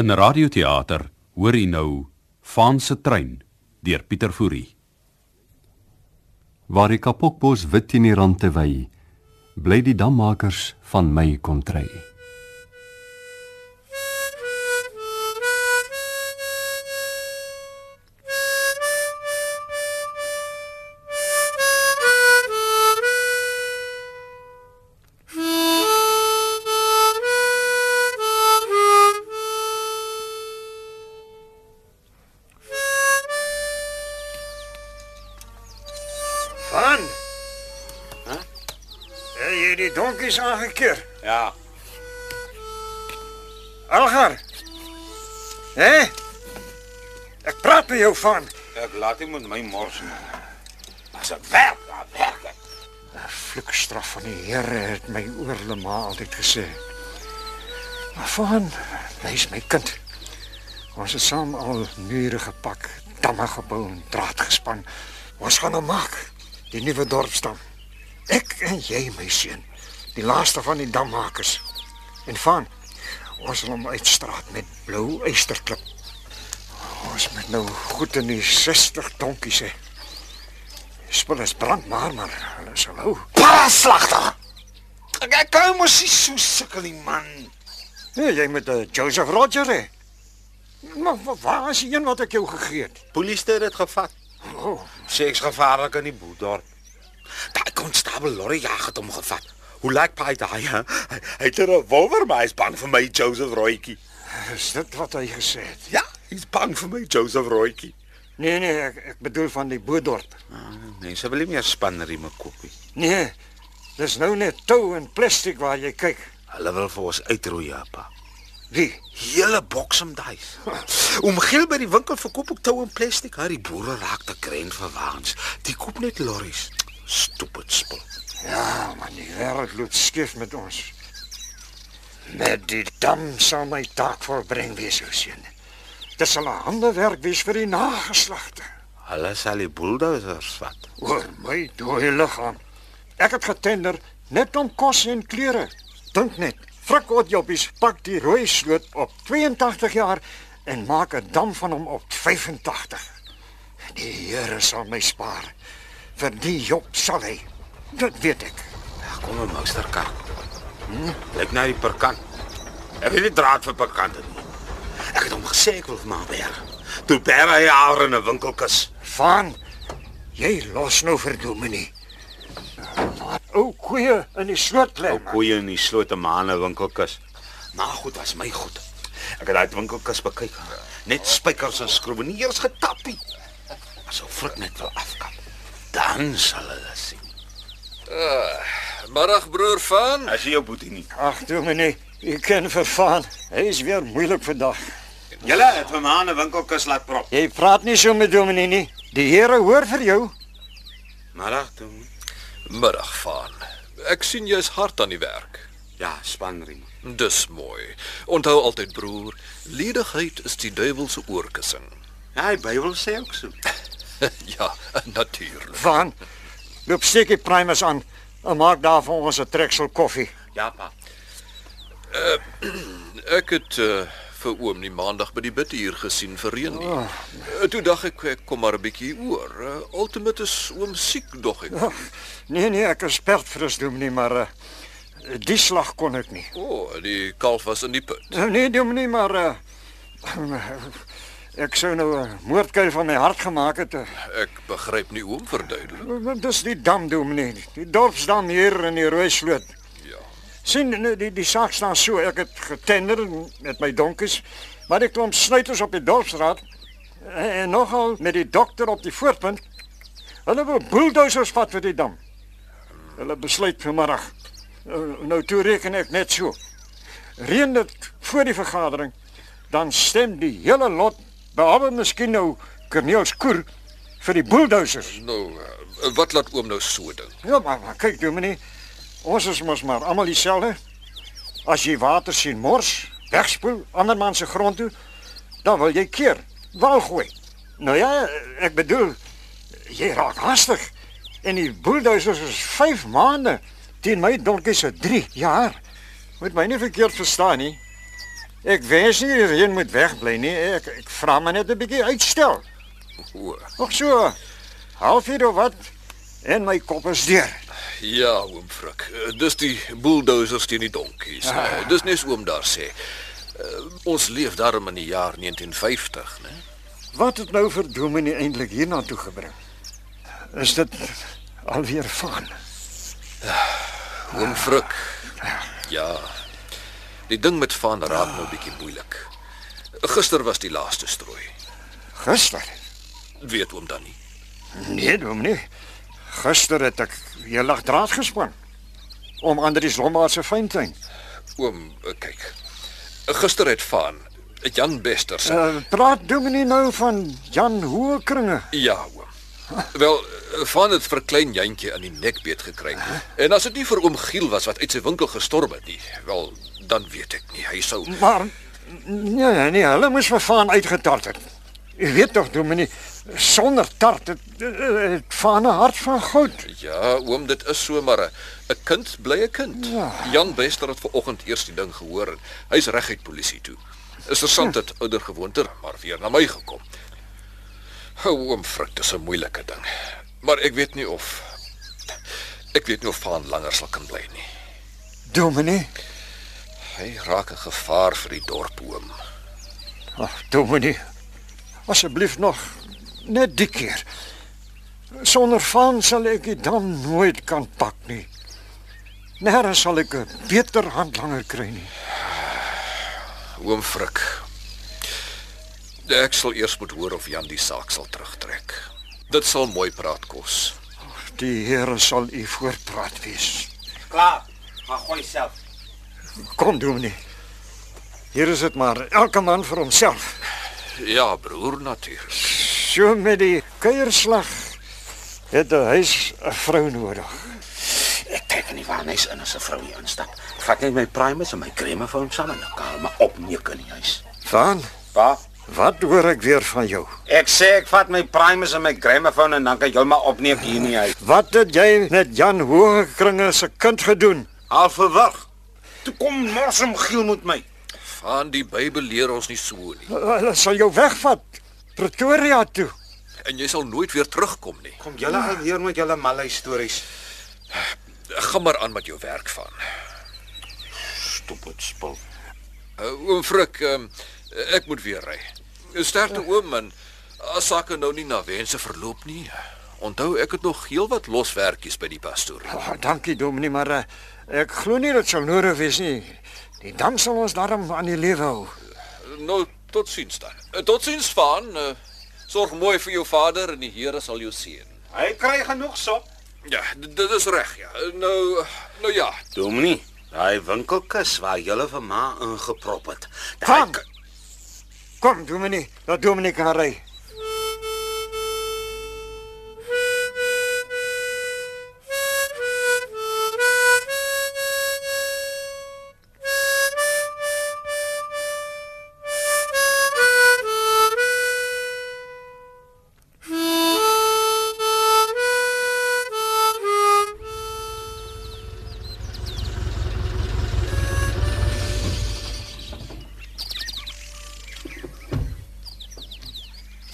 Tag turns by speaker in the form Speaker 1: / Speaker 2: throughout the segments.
Speaker 1: In radioteater hoor u nou Van se trein deur Pieter Fourie.
Speaker 2: waar die kapokbos wit teen die rand te wy, bly die dammakers van my kom trei.
Speaker 3: Van. Hè? Huh? Jy die donkies aangekeer.
Speaker 4: Ja,
Speaker 3: Algar. Hè? Ek praat met jou van.
Speaker 4: ek laat hom met my mors man. As ek werk, dan werk ek.
Speaker 3: Vloekstraf van die Here het my oorlema altyd gesê. Maar van, wys my kind. Ons het saam al mure gepak, damme gebou en draad gespan. Ons gaan hom maak, die nuwe dorpsdam. Ek en jy, my seun, die laaste van die dammakers. En van, ons sal hom uitstraat met blou eysterklip. Ons moet nou goed in die 60 donkies hê. Die Spul is brandbaar, maar hulle sal hou.
Speaker 4: Paslagter. Ek ek kan mos nie so sukkel nie man.
Speaker 3: Nee, jy moet 'n Joseph Roger hê. Maar wa- waar is die een wat ek jou gegee het?
Speaker 4: Polisie het dit gevat.
Speaker 3: Oh,
Speaker 4: Sê ek's gevaarlik in die boedorp. Daai konstabel Lorry jag het hom gevat. Hoe lyk paai daai? hè? Hy hy het 'n revolver, maar hy's bang vir my Joseph Rooitjie.
Speaker 3: is dit wat hy gesê het?
Speaker 4: Ja, hy's bang vir my Joseph Rooitjie.
Speaker 3: Nee nee, ek, ek bedoel van die Boedorp.
Speaker 4: Ah, Mense wil nie meer spanrieme koop nie.
Speaker 3: Nee. Dis nou net tou en plastiek waar jy kyk.
Speaker 4: Hulle wil vir ons uitroei, ja, pa.
Speaker 3: Wie?
Speaker 4: Hele boks om daai. Om geel by die winkel verkoop ek tou en plastiek. Hierdie boere raak te kren vir waans. Die koop net lorries. Stupid spul.
Speaker 3: Ja, maar die wêreld loop skief met ons. Met die dam sal my taak volbring wees, ou seun. Dit sal 'n handewerk wees vir die nageslagte.
Speaker 4: Hulle sal die bulldozers vat.
Speaker 3: Oor my dooie liggaam. Ek het getender net om kos en klere. Dink net, Frik Otjoppies pak die rooi sloot op 82 jaar en maak 'n dam van hom op 85. Die Here sal my spaar. Vir die Job sal hy. Dit weet ek.
Speaker 4: Ja, kom maar, Mr. Kak. Hm? Lyk na die perkant. Ek het nie draad vir perkante nie. Ek het hom gesê ek wil vir my berg. Toe berg hy haar in 'n winkelkas.
Speaker 3: Van jy los nou vir Dominee. Laat ou koeie in die sloot lê.
Speaker 4: Ou koeie in die sloot te maane winkelkas. Maar goed, was my goed. Ek het daai winkelkas bekyk. Net spykers en skroewe, nie eers getappie. Asof frik net wil afkap. Dan sal hulle sien.
Speaker 5: Middag broer van.
Speaker 4: As jy jou boetie nie.
Speaker 3: Ag Dominee, jy ken vir Van. Hy is weer moeilik vandag.
Speaker 4: Julle het vir maane winkelkas laat prop.
Speaker 3: Jy praat nie so met Dominee nie. Die Here hoor vir jou.
Speaker 4: Middag toe. man.
Speaker 5: Middag van. Ek sien jy's hard aan die werk.
Speaker 4: Ja, spanriem.
Speaker 5: Dis mooi. Onthou altyd broer, ledigheid is die duiwel se oorkussing.
Speaker 4: Ja, die Bybel sê ook so.
Speaker 5: ja, natuurlik.
Speaker 3: Van loop seker Primus aan en maak daar vir ons 'n treksel koffie.
Speaker 4: Ja, pa.
Speaker 5: Ek het uh, vir oom die maandag by die biduur gesien vir reën nie. Uh, toe dag ek ek kom maar 'n bietjie oor. Uh, ultimate is oom siek dog ek. O,
Speaker 3: Nee nee, ek is perdfris Dominee, maar uh, die slag kon ek nie.
Speaker 5: oh, die kalf was in die put.
Speaker 3: Nee Dominee, maar uh, ek sou nou 'n moordkuil van my hart gemaak het. Uh,
Speaker 5: Ek begryp nie oom verduidelik.
Speaker 3: Want Dis die dam dominee, die dorpsdam hier in die rooi sloot.
Speaker 5: Ja.
Speaker 3: Sien nou die die saak staan so, ek het getender met my donkies, maar die klomp snuiters op die dorpsraad en en nogal met die dokter op die voorpunt. Hulle wil bulldozers vat vir die dam. Hulle besluit vanmiddag. Nou nou toe reken ek net so. Reën dit voor die vergadering, dan stem die hele lot, behalwe miskien nou Corneels Koer vir die bulldozers.
Speaker 5: Nou, uh, wat laat oom nou so dink?
Speaker 3: Ja, maar, maar kyk Dominee, ons is mos maar almal dieselfde. As jy water sien mors, wegspoel ander man se grond toe, dan wil jy keer, wal gooi. Nou ja, ek bedoel jy raak haastig en die bulldozers is 5 maande teen my donkie se 3 jaar. Moet my nie verkeerd verstaan nie. Ek wens nie die reën moet wegbly nie. Ek ek vra maar net 'n bietjie uitstel.
Speaker 5: O,
Speaker 3: Nog so halfuur of wat en my kop is deur.
Speaker 5: ja, oom Frik. Eh, Dis die bulldozers teen die donkies. Ah. Dis net so oom daar sê. Eh, Ons leef daarom in die jaar 1950, né?
Speaker 3: Wat het nou vir Dominee eintlik hiernatoe gebring? Is dit alweer van?
Speaker 5: Oom Frik. Ja. Die ding met Van raak nou 'n bietjie moeilik. Gister was die laaste strooi.
Speaker 3: Gister?
Speaker 5: Weet oom dan nie.
Speaker 3: Nee, Dominee. Gister het ek heel lag draad gespan om Andries Lombard se fyntuin.
Speaker 5: Oom, eh, kyk. Gister het Van Jan Bester se
Speaker 3: Uh, praat Dominee nou van Jan Hoëkringe.
Speaker 5: Ja, oom. Wel, van het verklein jantjie aan die nek beet gekry. En as dit nie vir oom Giel was wat uit sy winkel gestorm het nie, wel, dan weet ek nie. Hy sou
Speaker 3: Maar nee, nee, hulle moes vir Van uitgetart het. U weet tog, Dominee, sonder tart het, het Van 'n hart van goud.
Speaker 5: Ja, oom, dit is so maar 'n- 'n kind bly 'n kind. Jan Bester het vanoggend eers die ding gehoor en hy's reguit polisie toe. Is er interessant dat ouer gewoonter maar weer na my gekom. Hou oom Frik, dis 'n moeilike ding. Maar ek weet nie of ek weet nie of Van langer sal kan bly nie.
Speaker 3: Dominee,
Speaker 5: Hy raak 'n gevaar vir die dorp oom.
Speaker 3: ag, Dominee. Asseblief nog net die keer. Sonder Van sal ek die dam nooit kan pak nie. Nêrens sal ek 'n beter handlanger kry nie.
Speaker 5: Oom Frik. Ek sal eers moet hoor of Jan die saak sal terugtrek. Dit sal mooi praat kos.
Speaker 3: Die Here sal u voorpraat wees.
Speaker 4: Klaar. Maar gooi self.
Speaker 3: Kom, Dominee. Hier is dit maar elke man vir homself.
Speaker 5: Ja, broer natuurlik.
Speaker 3: So met die kuierslag het 'n huis 'n vrou nodig.
Speaker 4: Ek kyk nie waar hy's in as 'n vrou hier instap. Ek Vat net my primus en my creme vir hom saam en ek kalm maar op nie kan die huis.
Speaker 3: Van,
Speaker 4: Pa,
Speaker 3: wat hoor ek weer van jou?
Speaker 4: ek sê ek vat my primus en my creme vir hom en dan kan jy maar opneem hier in die huis.
Speaker 3: Wat het jy met Jan Hoogekringe se kind gedoen?
Speaker 4: Al verwag. Toe kom mors om giel met my.
Speaker 5: Van die Bybel leer ons nie so nie.
Speaker 3: Hulle sal jou wegvat Pretoria toe.
Speaker 5: En jy sal nooit weer terugkom nie.
Speaker 4: Kom julle alweer met julle malai stories.
Speaker 5: Gaan maar aan met jou werk van.
Speaker 4: Stop dit spul.
Speaker 5: Uh, oom Frik, um, ek moet weer ry. Sterkte oom en as sake nou nie na wense verloop nie. Onthou ek het nog heelwat loswerkies by die pastorie.
Speaker 3: Oh, dankie Dominee, maar eh, ek glo nie dit sal nodig wees nie. Die dam sal ons daarom aan die lewe hou.
Speaker 5: Nou totsiens dan. Uh, Totsiens van. Uh, sorg mooi vir jou vader en die Here sal jou seën.
Speaker 4: Hy kry genoeg sop.
Speaker 5: Ja, d- dit is reg ja. Nou nou ja.
Speaker 4: Dominee, daai winkelkas waar julle vir ma ingeprop het. Daai
Speaker 3: Van.
Speaker 4: k-
Speaker 3: Kom Dominee, laat Dominee kan ry.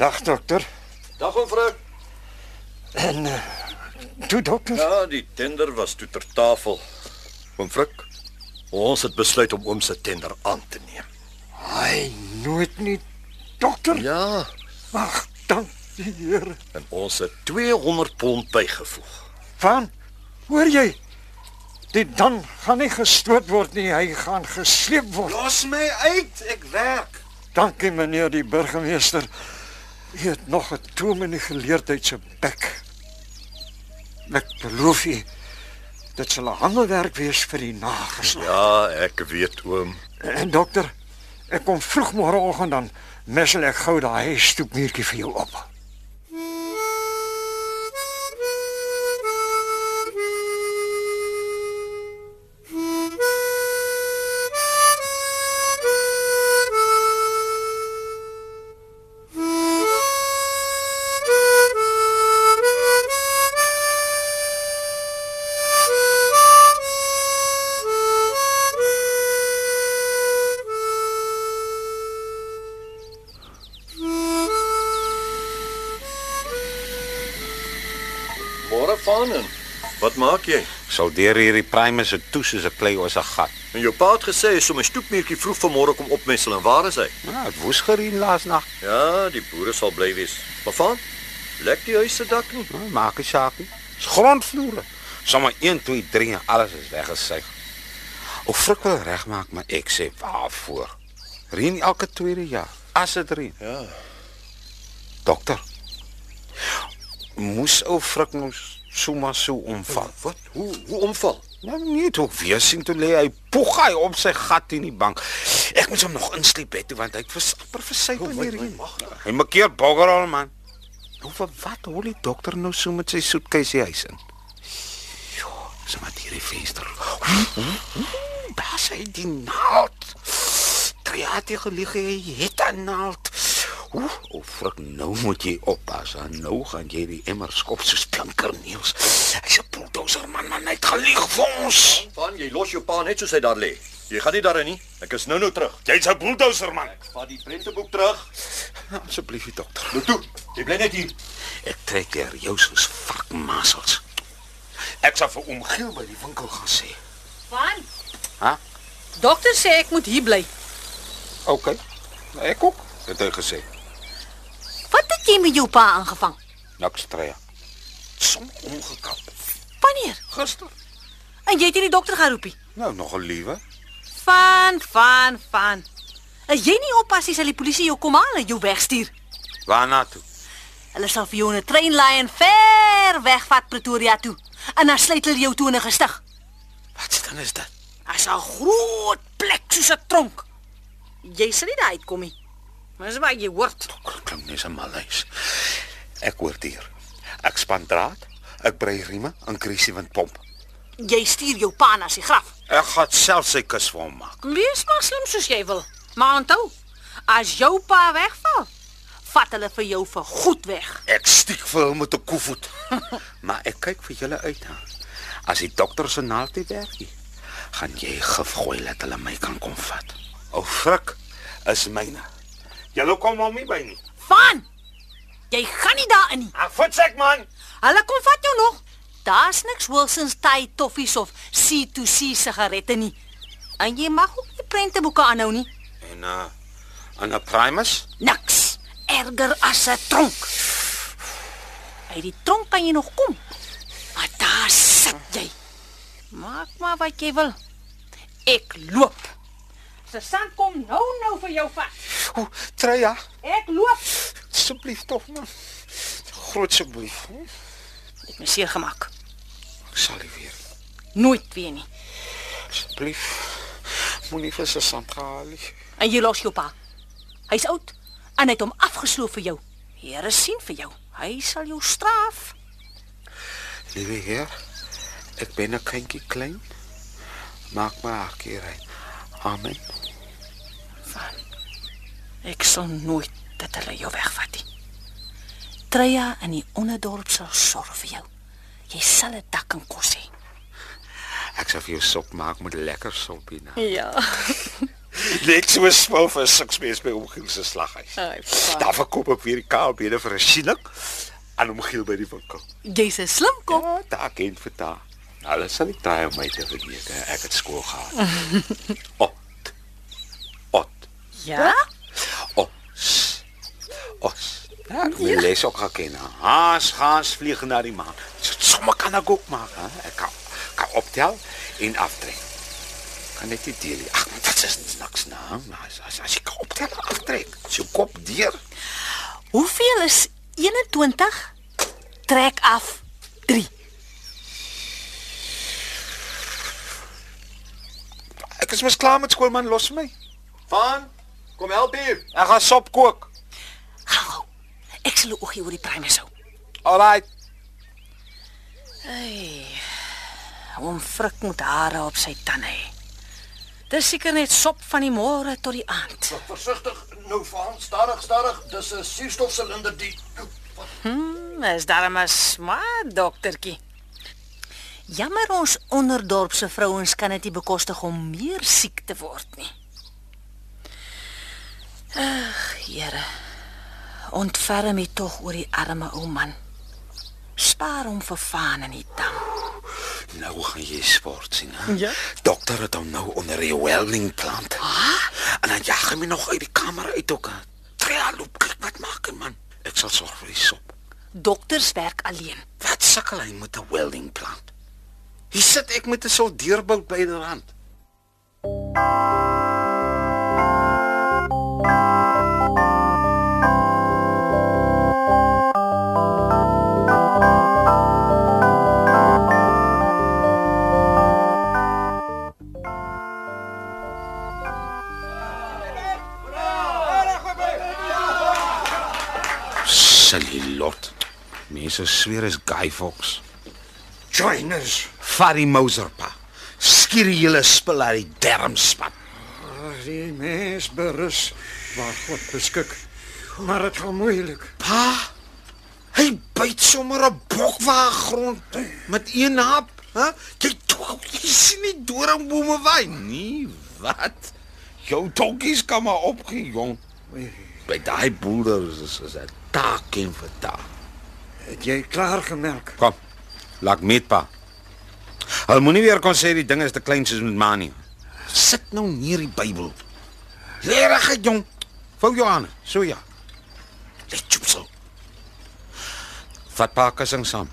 Speaker 3: Dag dokter.
Speaker 5: Dag oom Frik.
Speaker 3: En eh, toe dokter.
Speaker 6: Ja, die tender was toe ter tafel. Oom Frik, ons het besluit om oom se tender aan te neem.
Speaker 3: Ai, nooit nie dokter.
Speaker 6: Ja,
Speaker 3: Ag, dank die Here.
Speaker 6: en ons het 200 pond bygevoeg.
Speaker 3: Van, hoor jy? Die dan gaan nie gestoot word nie, hy gaan gesleep word.
Speaker 4: Los my uit, ek werk.
Speaker 3: Dankie meneer die burgemeester. U het nog 'n toem in die geleerdheid se bek. Ek beloof u dit sal 'n handelwerk wees vir die nageslag.
Speaker 6: Ja, ek weet oom.
Speaker 4: Ja.
Speaker 3: En dokter, ek kom vroeg môreoggend dan messel ek gou daai stoepmuurtjie vir jou op.
Speaker 7: Thank you.
Speaker 6: span in. Wat maak jy?
Speaker 4: Ek sal deur hierdie primus se toe soos 'n klei oor 'n gat.
Speaker 6: En jou pa het gesê hy sou my stoepmuurtjie vroeg vanmôre kom opmessel en waar is hy?
Speaker 4: Ja, dit woes gerien laas nag.
Speaker 6: Ja, die boere sal bly wees. Maar van lek die huis se dak nie.
Speaker 4: Ja, maak nie saak nie. Dis grondvloere. Sommige 1, 2, 3 en alles is weggesuig. Of frik wil regmaak, maar ek sê waarvoor? Reën elke tweede jaar as dit reën.
Speaker 6: Ja.
Speaker 4: Dokter. Moes ou frik nou sommer so omval.
Speaker 6: Wat? Hoe hoe omval?
Speaker 4: Nou nie toe weer sien toe lê hy poeg hy op sy gat in die bank. Ek moet hom nog insleep bed toe want hy het versper versyp
Speaker 6: Oh,
Speaker 4: in die reën.
Speaker 6: nou?
Speaker 4: Hy makkeer boggerol man. Nou vir wat hol die dokter nou so met sy soetkuisie huis in? Ja, Jo, so maar hierdie venster. Daar sy die naald. Triatie gelig hy het 'n naald. Oef, o frik nou moet jy oppas. hè. Nou gaan jy die emmer skop soos plankerneels. Hy's 'n bulldozer man, man, hy het gelieg vir ons.
Speaker 6: Van jy los jou pa net soos hy daar lê. Jy gaan nie daarin nie. Ek is nou-nou terug.
Speaker 4: Jy's 'n bulldozer man.
Speaker 6: Vat die prenteboek terug.
Speaker 4: Asseblief, die dokter.
Speaker 6: Nou toe. Jy bly net hier.
Speaker 4: Ek trek deur jou soos vakmasels. Ek sal vir oom Giel by die winkel gaan sê.
Speaker 7: Van?
Speaker 4: Hæ?
Speaker 7: Dokter sê ek moet hier bly.
Speaker 4: OK. Nou, Ek ook, het hy gesê.
Speaker 7: Wat het jy met jou pa aangevang?
Speaker 4: Niks tree. Som ongekap.
Speaker 7: Wanneer?
Speaker 4: Gister.
Speaker 7: En jy het nie die dokter geroep nie.
Speaker 4: Nou nog 'n liewe.
Speaker 7: Van, van, van. As jy nie oppas nie, sal die polisie jou kom haal en jou wegstuur.
Speaker 4: Waarna toe?
Speaker 7: Hulle sal vir jou 'n trein laai en ver wegvat Pretoria toe. En dan sluit hulle jou toe in 'n gestig.
Speaker 4: Wat staan is dit?
Speaker 7: As 'n groot plek soos 'n tronk. Jy sal nie daar uitkom nie. Maar dis maar jy word.
Speaker 4: Klink net 'n malhuis. Ek hoor hier. Ek span draad, ek brei rieme en krisie windpomp.
Speaker 7: Jy stuur jou pa na sy graf.
Speaker 4: Ek gaan self sy kus vir hom maak.
Speaker 7: Wees maar slim soos jy wil. Maar onthou, as jou pa wegval, vat hulle vir jou vir goed weg.
Speaker 4: Ek stiek vir hom met 'n koevoet. maar ek kyk vir julle uit hè. As die dokter se naald nie werk nie, gaan jy gif gooi dat hulle my kan kom vat. Ou frik is myne. Julle kom hom nie by nie.
Speaker 7: Van! Jy gaan nie daarin nie.
Speaker 4: Ag, voetsek man.
Speaker 7: Hulle kom vat jou nog. Daar's niks Wilson's Thai toffies of C2C sigarette nie. En jy mag ook nie prenteboeke aanhou nie.
Speaker 4: En uh aan 'n primus?
Speaker 7: Niks erger as 'n tronk. Uit die tronk kan jy nog kom. Maar daar sit jy. Maak maar wat jy wil. Ek loop. Susan kom nou nou vir jou vat.
Speaker 4: O, Treya,
Speaker 7: Ek loop.
Speaker 4: asseblief tog man. Groot asseblief. hè.
Speaker 7: Ek my seer gemaak.
Speaker 4: Ek sal nie weer.
Speaker 7: Nooit weer nie.
Speaker 4: Asseblief. Moenie vir se santralie.
Speaker 7: En jy los jou pa. Hy's oud en hy het hom afgesloof vir jou. Here sien vir jou. Hy sal jou straf.
Speaker 4: Lieve heer, ik ben een kindje klein. Maak me haar keer rein. Amen.
Speaker 7: Ek sal nooit dat hulle jou wegvat nie. Treya in die onderdorp sal sorg vir jou. Jy sal 'n dak en kos hê.
Speaker 4: Ik zou voor jou sop maken met lekker sop in.
Speaker 7: Ja.
Speaker 4: Niks so spul vir siks mense by Omgiel se slaghuis. Daar verkoop ek weer die kaalbene vir 'n siening aan Omgiel by die winkel.
Speaker 7: Jy's 'n slim kop.
Speaker 4: Ja, daar ken vir daar. Hulle sal nie daai om my te vergeet. hè. Ek het skool gehad. Ot. Ot.
Speaker 7: Ja.
Speaker 4: Os. Os. Ja, ek wil lees ook gaan ken. hè. Haas, haas vlieg na die maan. So- Sommige kan ek ook maak. Hè? Ek kan, kan optel en aftrek. Kan net die deel. Ag, maar dit is niks nou. As, as, as jy kan optel en aftrek. Sy kop deur.
Speaker 7: Hoeveel is 21? Trek af 3.
Speaker 4: Ek is mos klaar met skoolman, los my.
Speaker 6: Van, kom help hier.
Speaker 4: Ek gaan sop kook.
Speaker 7: Gaan gou. Ek sal 'n oogie oor die primus hou.
Speaker 4: Alraai.
Speaker 7: Hom frik moet hare op sy tande hê. Dis seker net sop van die môre tot die aand.
Speaker 6: Versigtig nou van, stadig, stadig. Dis 'n suurstofsilinder die
Speaker 7: Hmm, is darem 'n smaak doktertjie. Jammer ons onderdorpse vrouens kan dit nie bekostig om meer siek te word nie. Ag, Here. Ontferm my tog oor die arme ou man. St Staar hom vervaan in die dam.
Speaker 4: Nou gaan jy sport sien, hè? Ja. Dokter het hom nou onder die welding plant. En dan jag hom nog uit die kamer uit ook. hè. Trea loop, kyk wat maak hy man. Ek sal sorg vir die sop.
Speaker 7: Dokters werk alleen.
Speaker 4: Wat sukkel hy met 'n welding plant? Hier sit ek met 'n soldeerbout by die rand. Silly lot. Mense sweer is Guy Fox.
Speaker 3: Join us.
Speaker 4: Fari Moser pa. Skier die hele spul uit die dermspat.
Speaker 3: Ag, Ah, Die mens berus waar God beskik. Maar dit gaan moeilik.
Speaker 4: Pa. Hy byt sommer 'n bok waar grond met een hap, hè? Jy dog, jy sien nie doringbome waai nie. Wat? Jou donkies kan maar opgejong. By daai boerders is is 'n taak en vir taak.
Speaker 3: Het jy klaar gemerk?
Speaker 4: Kom. Laat meet pa. Hulle moenie weer kon sê die ding is te klein soos met ma nie. Sit nou neer die Bybel. Lerigheid jong. Vou jou aan. So ja. Let jou so. Vat pa kussing saam.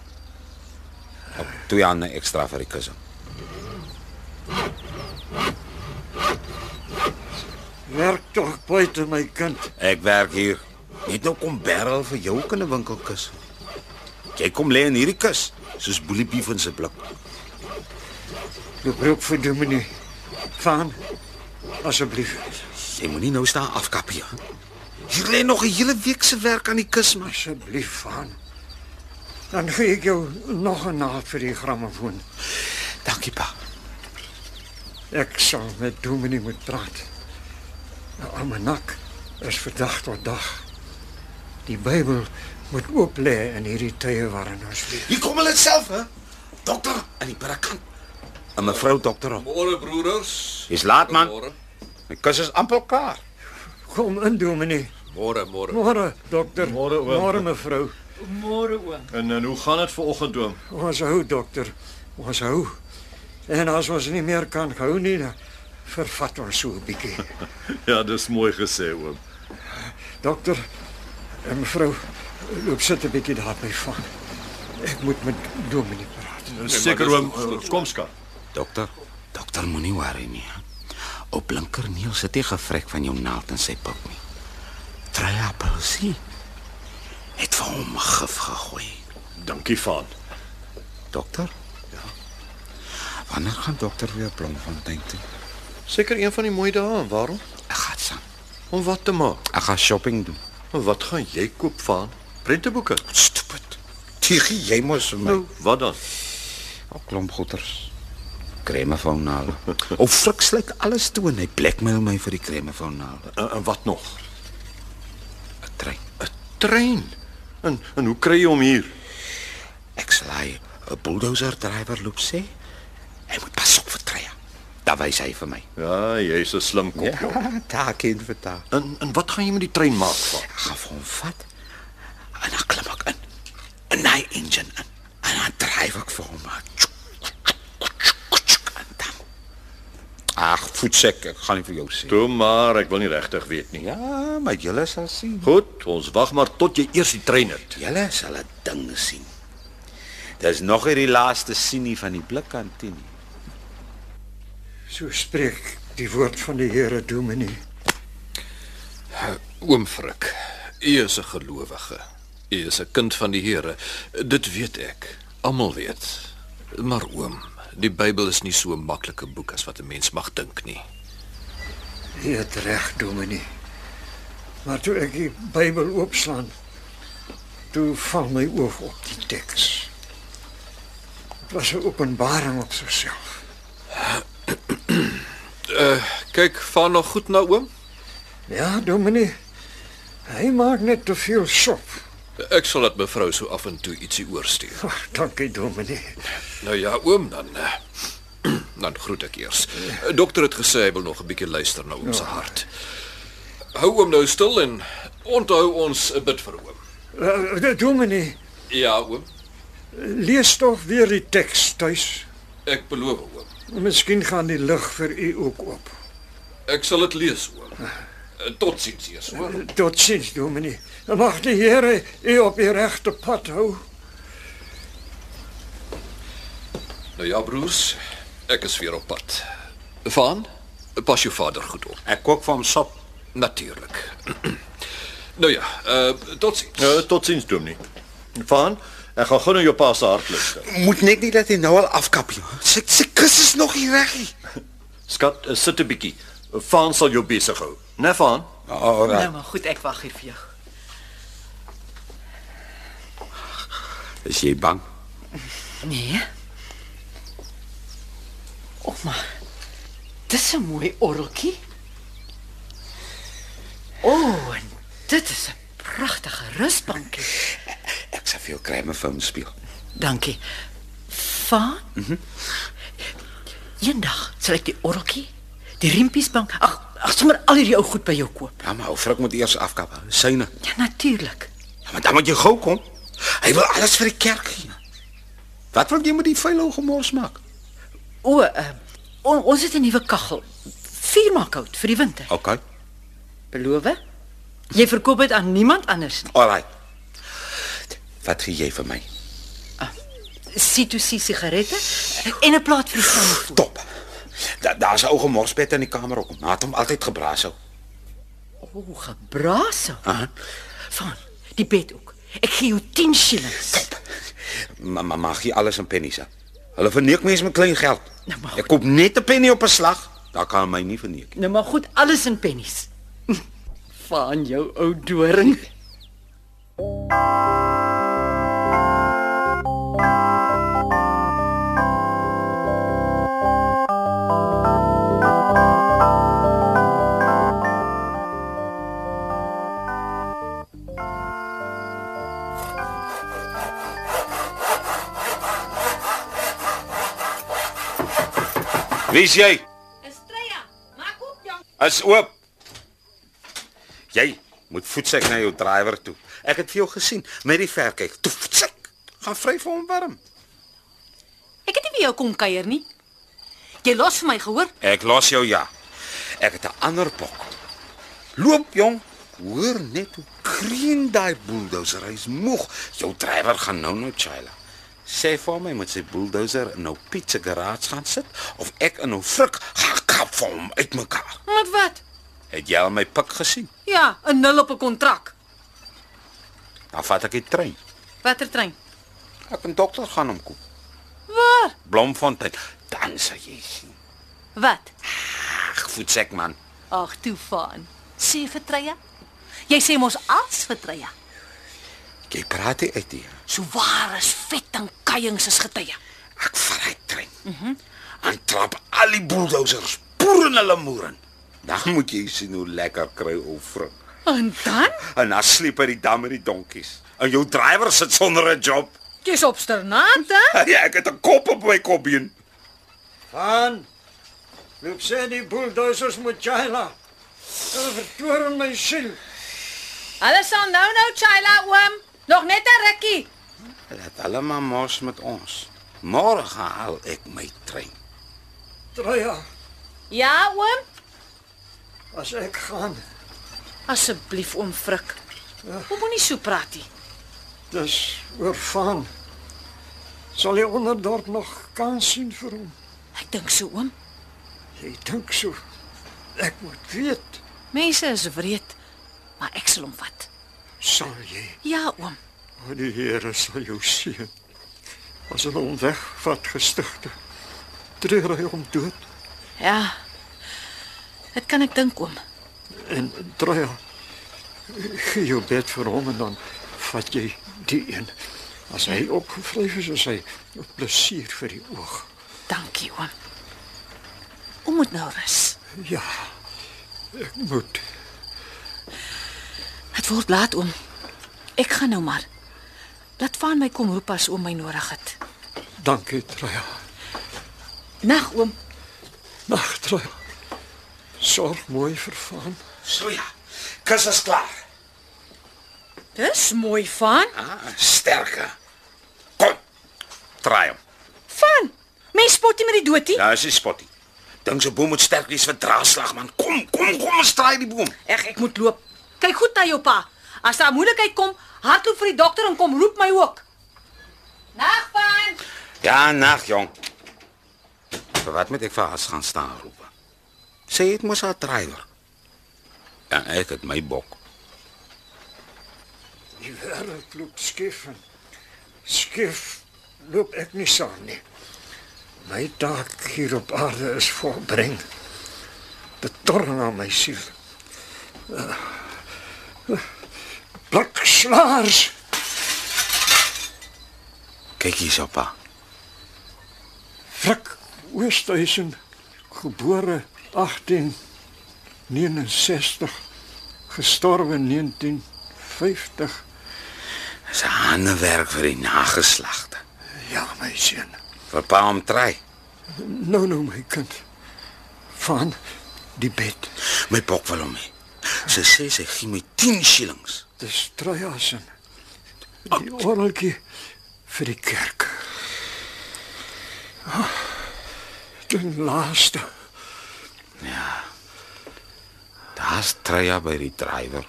Speaker 4: Op twee hande ekstra vir die kussing.
Speaker 3: Werk tog buite my kind.
Speaker 4: Ek werk hier. Net nou kom Beryl vir jou ook in 'n winkel kus. Jy kom lê in hierdie kus soos Boeliepie van sy blik.
Speaker 3: Loop roep vir Dominee. Van asseblief.
Speaker 4: Jy moenie nou staan afkap hier. hè? Hier lê nog 'n hele week se werk aan die kus maar.
Speaker 3: Asseblief van. Dan gee ek jou nog 'n naald vir die grammofoon.
Speaker 4: Dankie pa.
Speaker 3: Ek sal met Dominee moet praat. 'n Almanak is vandag tot dag. Die Bybel moet oop lê in hierdie tye waarin ons leef.
Speaker 4: Hier kom hulle self hè. Dokter aan die binnekant. En mevrou dokter.
Speaker 5: Môre broeders.
Speaker 4: Dis laat man.
Speaker 5: Môre.
Speaker 4: My kus is amper klaar.
Speaker 3: Kom in Dominee.
Speaker 5: Môre, môre.
Speaker 3: Môre dokter.
Speaker 6: Môre, oom.
Speaker 3: Môre mevrou.
Speaker 6: En, en eh, hoe gaan dit vanoggend oom?
Speaker 3: Ons hou dokter. Ons hou. En as ons nie meer kan hou nie, dan vervat ons so 'n bietjie.
Speaker 6: Ja, dis mooi gesê oom.
Speaker 3: dokter en mevrou loop sit 'n bietjie daar by van. Ek moet met Dominee praat.
Speaker 6: Seker oom, kom skat.
Speaker 4: Dokter. Dokter moenie worry nie. hè. Op blinker neel sit hy gevrek van jou naald in sy pap nie. Drie appelsie. Het vir hom gif gegooi.
Speaker 6: Dankie Vaan.
Speaker 4: Dokter? Ja. Wanneer gaan dokter weer Blomfontein toe?
Speaker 6: Seker een van die mooi dae, waarom?
Speaker 4: Ek gaan saam.
Speaker 6: Om wat te maak?
Speaker 4: Ek gaan shopping doen.
Speaker 6: En wat gaan jy koop Vaan? Prenteboeke.
Speaker 4: Stupid. Tigi, jy mos vir my.
Speaker 6: Nou, wat dan?
Speaker 4: 'n klomp goeters. Kreme van naal. Of frik slyk alles toe en hy blackmail my vir die kreme van naal.
Speaker 6: En, en wat nog?
Speaker 4: 'n Trein.
Speaker 6: 'n Trein. En en hoe kry jy hom hier?
Speaker 4: Ek slaai 'n bulldozer drywer loop sê. Hy moet pas op vir trein. Daar wys hy vir my.
Speaker 6: Ja, jy's 'n slim kop, jong.
Speaker 4: Ah, taak in vir taak.
Speaker 6: En en wat gaan jy met die trein maak van?
Speaker 4: Ek gaan vir hom vat. En dan klim ek in. En hy engine in. En dan dryf ek vir hom. En dan. Ag, voetsek, ek gaan nie vir jou sê.
Speaker 6: Toe maar, ek wil nie regtig weet nie.
Speaker 4: Ja, maar julle sal sien.
Speaker 6: Goed, ons wag maar tot jy e- eers die trein het.
Speaker 4: Julle sal 'n ding sien. Dis nog nie die laaste sienie van die blikkantien nie.
Speaker 3: So spreek die woord van die Here Dominee.
Speaker 5: Oom Frik, u is 'n gelowige. U is 'n kind van die Here. Dit weet ek. Almal weet. Maar oom, die Bybel is nie so 'n maklike boek as wat 'n mens mag dink nie.
Speaker 3: Jy het reg, Dominee. Maar toe ek die Bybel oopslaan, toe val my oog op die teks. Dit was 'n openbaring op sigself.
Speaker 5: Kyk, vaar nog goed na oom.
Speaker 3: Ja, Dominee. Hy maak net te veel sop.
Speaker 5: Ek sal dit mevrou so af en toe ietsie oorstuur.
Speaker 3: Ag, dankie, Dominee.
Speaker 5: Nou ja, oom, dan eh, dan groet ek eers. Eh, Dokter het gesê hy wil nog 'n bietjie luister na oom se hart. Hou oom nou stil en onthou ons 'n bid vir oom.
Speaker 3: Uh, Eh, Dominee,
Speaker 5: Ja, oom.
Speaker 3: Lees tog weer die teks tuis.
Speaker 5: Ek beloof, oom.
Speaker 3: Miskien gaan die lig vir u ook op.
Speaker 5: Ek sal dit lees, oom. Eh, Totsiens, eers, hoor.
Speaker 3: Tot ziens, dominee. Mag die Here u op u regte pad hou.
Speaker 5: Nou ja, broers, ek is weer op pad. Van, pas jou vader goed op.
Speaker 4: Ek kook vir hom sop.
Speaker 5: Natuurlik. nou ja, uh, tot ziens.
Speaker 6: Uh, totsiens, Dominee. Van, ek gaan gou na jou pa se hart luister.
Speaker 4: Moet net nie dat hy nou al afkap nie. Sy sy kus is nog hier reg nie.
Speaker 6: Skat, eh, sit 'n bietjie. Van sal jou besig hou. Né, Van?
Speaker 4: Alraai.
Speaker 8: Nou maar goed, ek wag hier vir jou.
Speaker 4: Is jy bang?
Speaker 8: Nee. Ouma. Dis 'n mooi orreltjie. O, oh, en dit is 'n pragtige rusbankie.
Speaker 4: Ek sal vir jou kreme vir hom speel.
Speaker 8: Dankie. Van? Mhm. Eendag sal ek die orreltjie, die rimpiesbank, ag, ag sommer al hierdie ou goed by jou koop.
Speaker 4: Ja, maar ou vrou moet eers afkap. Syne.
Speaker 8: Ja, natuurlik.
Speaker 4: Ja, maar dan moet jy gou kom. Hy wil alles vir die kerk gee. Wat wil jy met die vuil ou gemors maak?
Speaker 8: O, uh, on, ons het 'n nuwe kaggel. Vuur maak koud vir die winter.
Speaker 4: OK.
Speaker 8: Beloof? Jy verkoop dit aan niemand anders nie.
Speaker 4: Alraai. Wat gee jy vir my?
Speaker 8: C2C sigarette en 'n plaat vir die samevoer.
Speaker 4: Top. Da, Daar's 'n ou gemorspet in die kamer ook. Maar het hom altyd gebraas hou.
Speaker 8: O, oh, gebrase.
Speaker 4: Aha.
Speaker 8: Van die bed ook. Ek gee jou 10 shillings.
Speaker 4: Maar ma, mag jy alles in pennies? hè? Hulle verneek mense met klein geld.
Speaker 8: Nou, maar
Speaker 4: Ek koop net 'n penny op 'n slag. Daar kan hy my nie verneek. nie.
Speaker 8: Nou maar goed, alles in pennies. Van jou ou doring.
Speaker 4: Wie's jy?
Speaker 7: Estrella, maak op jong.
Speaker 4: Is oop. Jy moet voetsek na jou drywer toe. Ek het vir jou gesien met die verkyk. Toe voetsek. Gaan vry vir hom warm.
Speaker 7: Ek het nie by jou kom kuier nie. Jy los vir my gehoor.
Speaker 4: Ek los jou ja. Ek het 'n ander bok. Loop jong. Hoor net hoe kreun daai bulldozer. Hy's moeg. Jou drywer gaan nou nou chaila. Sê vir my met sy bulldozer in nou Piet se garage gaan sit of ek in 'n frik gaan kap vir hom uitmekaar.
Speaker 7: Met wat?
Speaker 4: Het jy al my pik gesien?
Speaker 7: Ja, 'n nul op 'n kontrak.
Speaker 4: Dan vat ek die trein.
Speaker 7: Watter trein?
Speaker 4: Ek en dokter gaan hom koop.
Speaker 7: Waar?
Speaker 4: Blomfontein. Dan sal jy sien.
Speaker 7: Wat?
Speaker 4: Ag, voetsek man.
Speaker 7: Ag, toe van. Sê vir Treya. Jy sê mos als vir Treya.
Speaker 4: Jy praat nie uit hier.
Speaker 7: So waar is vet en kuiings is getye.
Speaker 4: Ek vat hy trein. Mhm. Mm en trap al die bulldozers boer in hulle moeren. Dan moet jy sien hoe lekker kry ou vrou.
Speaker 7: En dan?
Speaker 4: En dan sleep hy die dam met die donkies. En jou drywer sit sonder 'n job.
Speaker 7: Jy's obsternant, hè?
Speaker 4: Ja, ek het 'n kop op my kopbeen.
Speaker 3: Van. Loop sê die bulldozers moet Jaila. Hulle vertoren my siel.
Speaker 7: Alles aan nou nou, Chaila oom. Nog net 'n rukkie.
Speaker 4: Laat hulle maar mors met ons. Môre gaan haal ek my trein.
Speaker 3: Treya,
Speaker 7: Ja, oom.
Speaker 3: as ek gaan,
Speaker 7: Asseblief oom Frik. Kom moenie so praat nie.
Speaker 3: dis oor Van. Sal jy onderdorp nog kans sien vir hom?
Speaker 7: Ek dink so oom.
Speaker 3: Jy dink so. Ek moet weet,
Speaker 7: Mense is wreed, maar ek sal hom vat.
Speaker 3: sal jy.
Speaker 7: Ja, oom.
Speaker 3: O die Here sal jou seën. As hulle hom wegvat gestigte, treur hy hom dood
Speaker 7: Ja. Dit kan ek dink oom.
Speaker 3: en Treya gee jou bed vir hom en dan vat jy die een. As hy opgevryf is, is hy 'n plesier vir die oog.
Speaker 7: Dankie oom. Oom moet nou rus.
Speaker 3: Ja. Ek moet.
Speaker 7: Dit word laat oom. Ek gaan nou maar. Laat van my kom roep as oom my nodig het.
Speaker 3: Dankie, Treya.
Speaker 7: Nag oom.
Speaker 3: Nag, Treya. Sorg mooi vir Van.
Speaker 4: So ja. Kus is klaar.
Speaker 7: Dis mooi van.
Speaker 4: Ah, sterker. Kom, vertraai hom.
Speaker 7: Van. Mens spot nie met die dood nie.
Speaker 4: Daar is die spotty. Dink se boom moet sterk wees vir draagslag man. Kom, kom, kom, ons straai die boom.
Speaker 7: Eg, ek moet loop. Kyk goed na jou pa. As daar moeilikheid kom, hardloop vir die dokter en kom roep my ook. Nag van.
Speaker 4: Ja, nag jong. Vir wat moet ek vir haar gaan staan roep? Sy het mos haar drywer. En ek het my bok.
Speaker 3: Die wêreld loop skief en skief loop ek nie saam nie. My taak hier op aarde is volbring. Betorring aan my siel. Eh, Plak slaars.
Speaker 4: Kyk hier, soppa.
Speaker 3: Frik Oosthuizen gebore 1869 gestorwe 1950.
Speaker 4: Dis 'n handewerk vir die nageslagte.
Speaker 3: Ja my seun.
Speaker 4: Vir pa om try.
Speaker 3: Nou nou my kind. Van die bed.
Speaker 4: My bok wil hom hê. Sy sê sy gee my 10 shillings.
Speaker 3: Dis Trojasen. Die orgeltjie vir die kerk. Ah, Ten laaste.
Speaker 4: Daar's Treya by die drywer.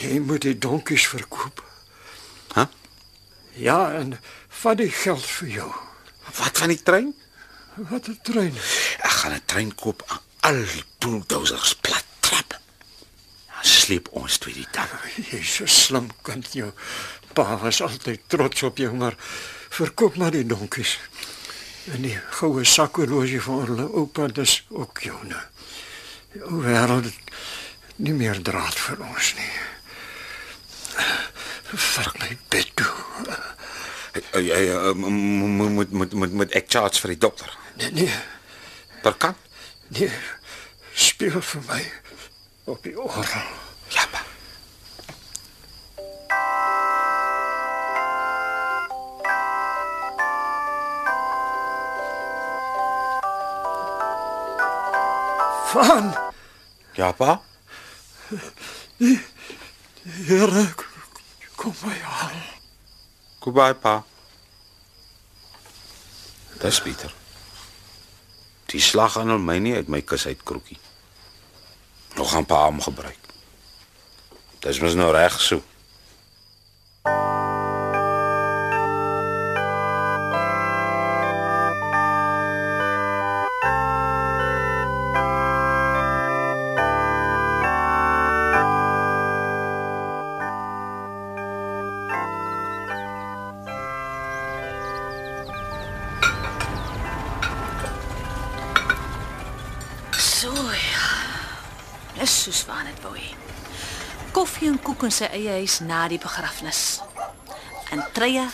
Speaker 3: Jy moet die donkies verkoop.
Speaker 4: Hæ?
Speaker 3: Ja, en vat die geld vir jou.
Speaker 4: Wat van die trein?
Speaker 3: Wat 'n trein.
Speaker 4: Ek gaan 'n trein koop aan al die bulldozers plat trap. Dan sleep ons twee die dag.
Speaker 3: Jy's so slim kind jou. Pa was altyd trots op jou, maar verkoop maar die donkies. En die goue sakhorlosie van hulle oupa dis ook joune. Die ou wêreld het nie meer draad vir ons nie. Vat my bed toe.
Speaker 4: Ey, ey, eh, mo- mo- Moet moet moet moet ek charge vir die dokter.
Speaker 3: Nee, nee,
Speaker 4: Per kan?
Speaker 3: nee. Speel vir my op die orgel.
Speaker 4: Ja, pa.
Speaker 3: Van
Speaker 4: Ja, pa.
Speaker 3: Here, kom my haal.
Speaker 4: Goodbye, pa. Dis Pieter. Die slag aan hom my nie uit my kus uit kroekie. Nog gaan pa hom gebruik. Dis mos nou reg so.
Speaker 7: So ja. Dis soos van dit wou hê. Koffie en koek in sy eie huis na die begrafnis. En Treya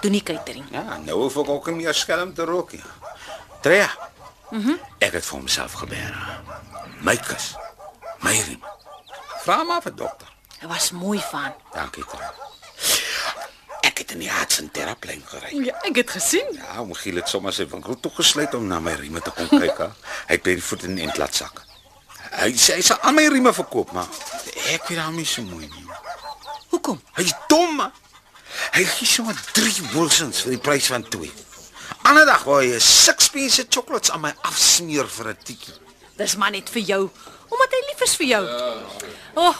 Speaker 7: doen nie catering.
Speaker 4: Ja, nou hoef ek ook nie meer skelm te rook nie. Trea. Mhm. ek het vir homself gebeer. My kus. My riem. Vra maar vir dokter.
Speaker 7: Dit was mooi van.
Speaker 4: Dankie, Trea. Ek het in die Hudson teraplyn gery.
Speaker 7: Ja, ek het gesien.
Speaker 4: Ja, om Giel het sommer sy winkel toegesluit om na my rieme te kom kyk. hè. Hy het by die voet in die entlat sak. Hy sê hy sal aan my rieme verkoop, maar ek weet hom nie so mooi nie.
Speaker 7: Hoekom?
Speaker 4: Hy's dom. man. Hy gee sommer 3 Wilsons vir die prys van 2. Ander dag wou hy 'n sixpence se chocolates aan my afsmeer vir 'n tikkie.
Speaker 7: Dis maar net vir jou, omdat hy lief is vir jou. O. Oh,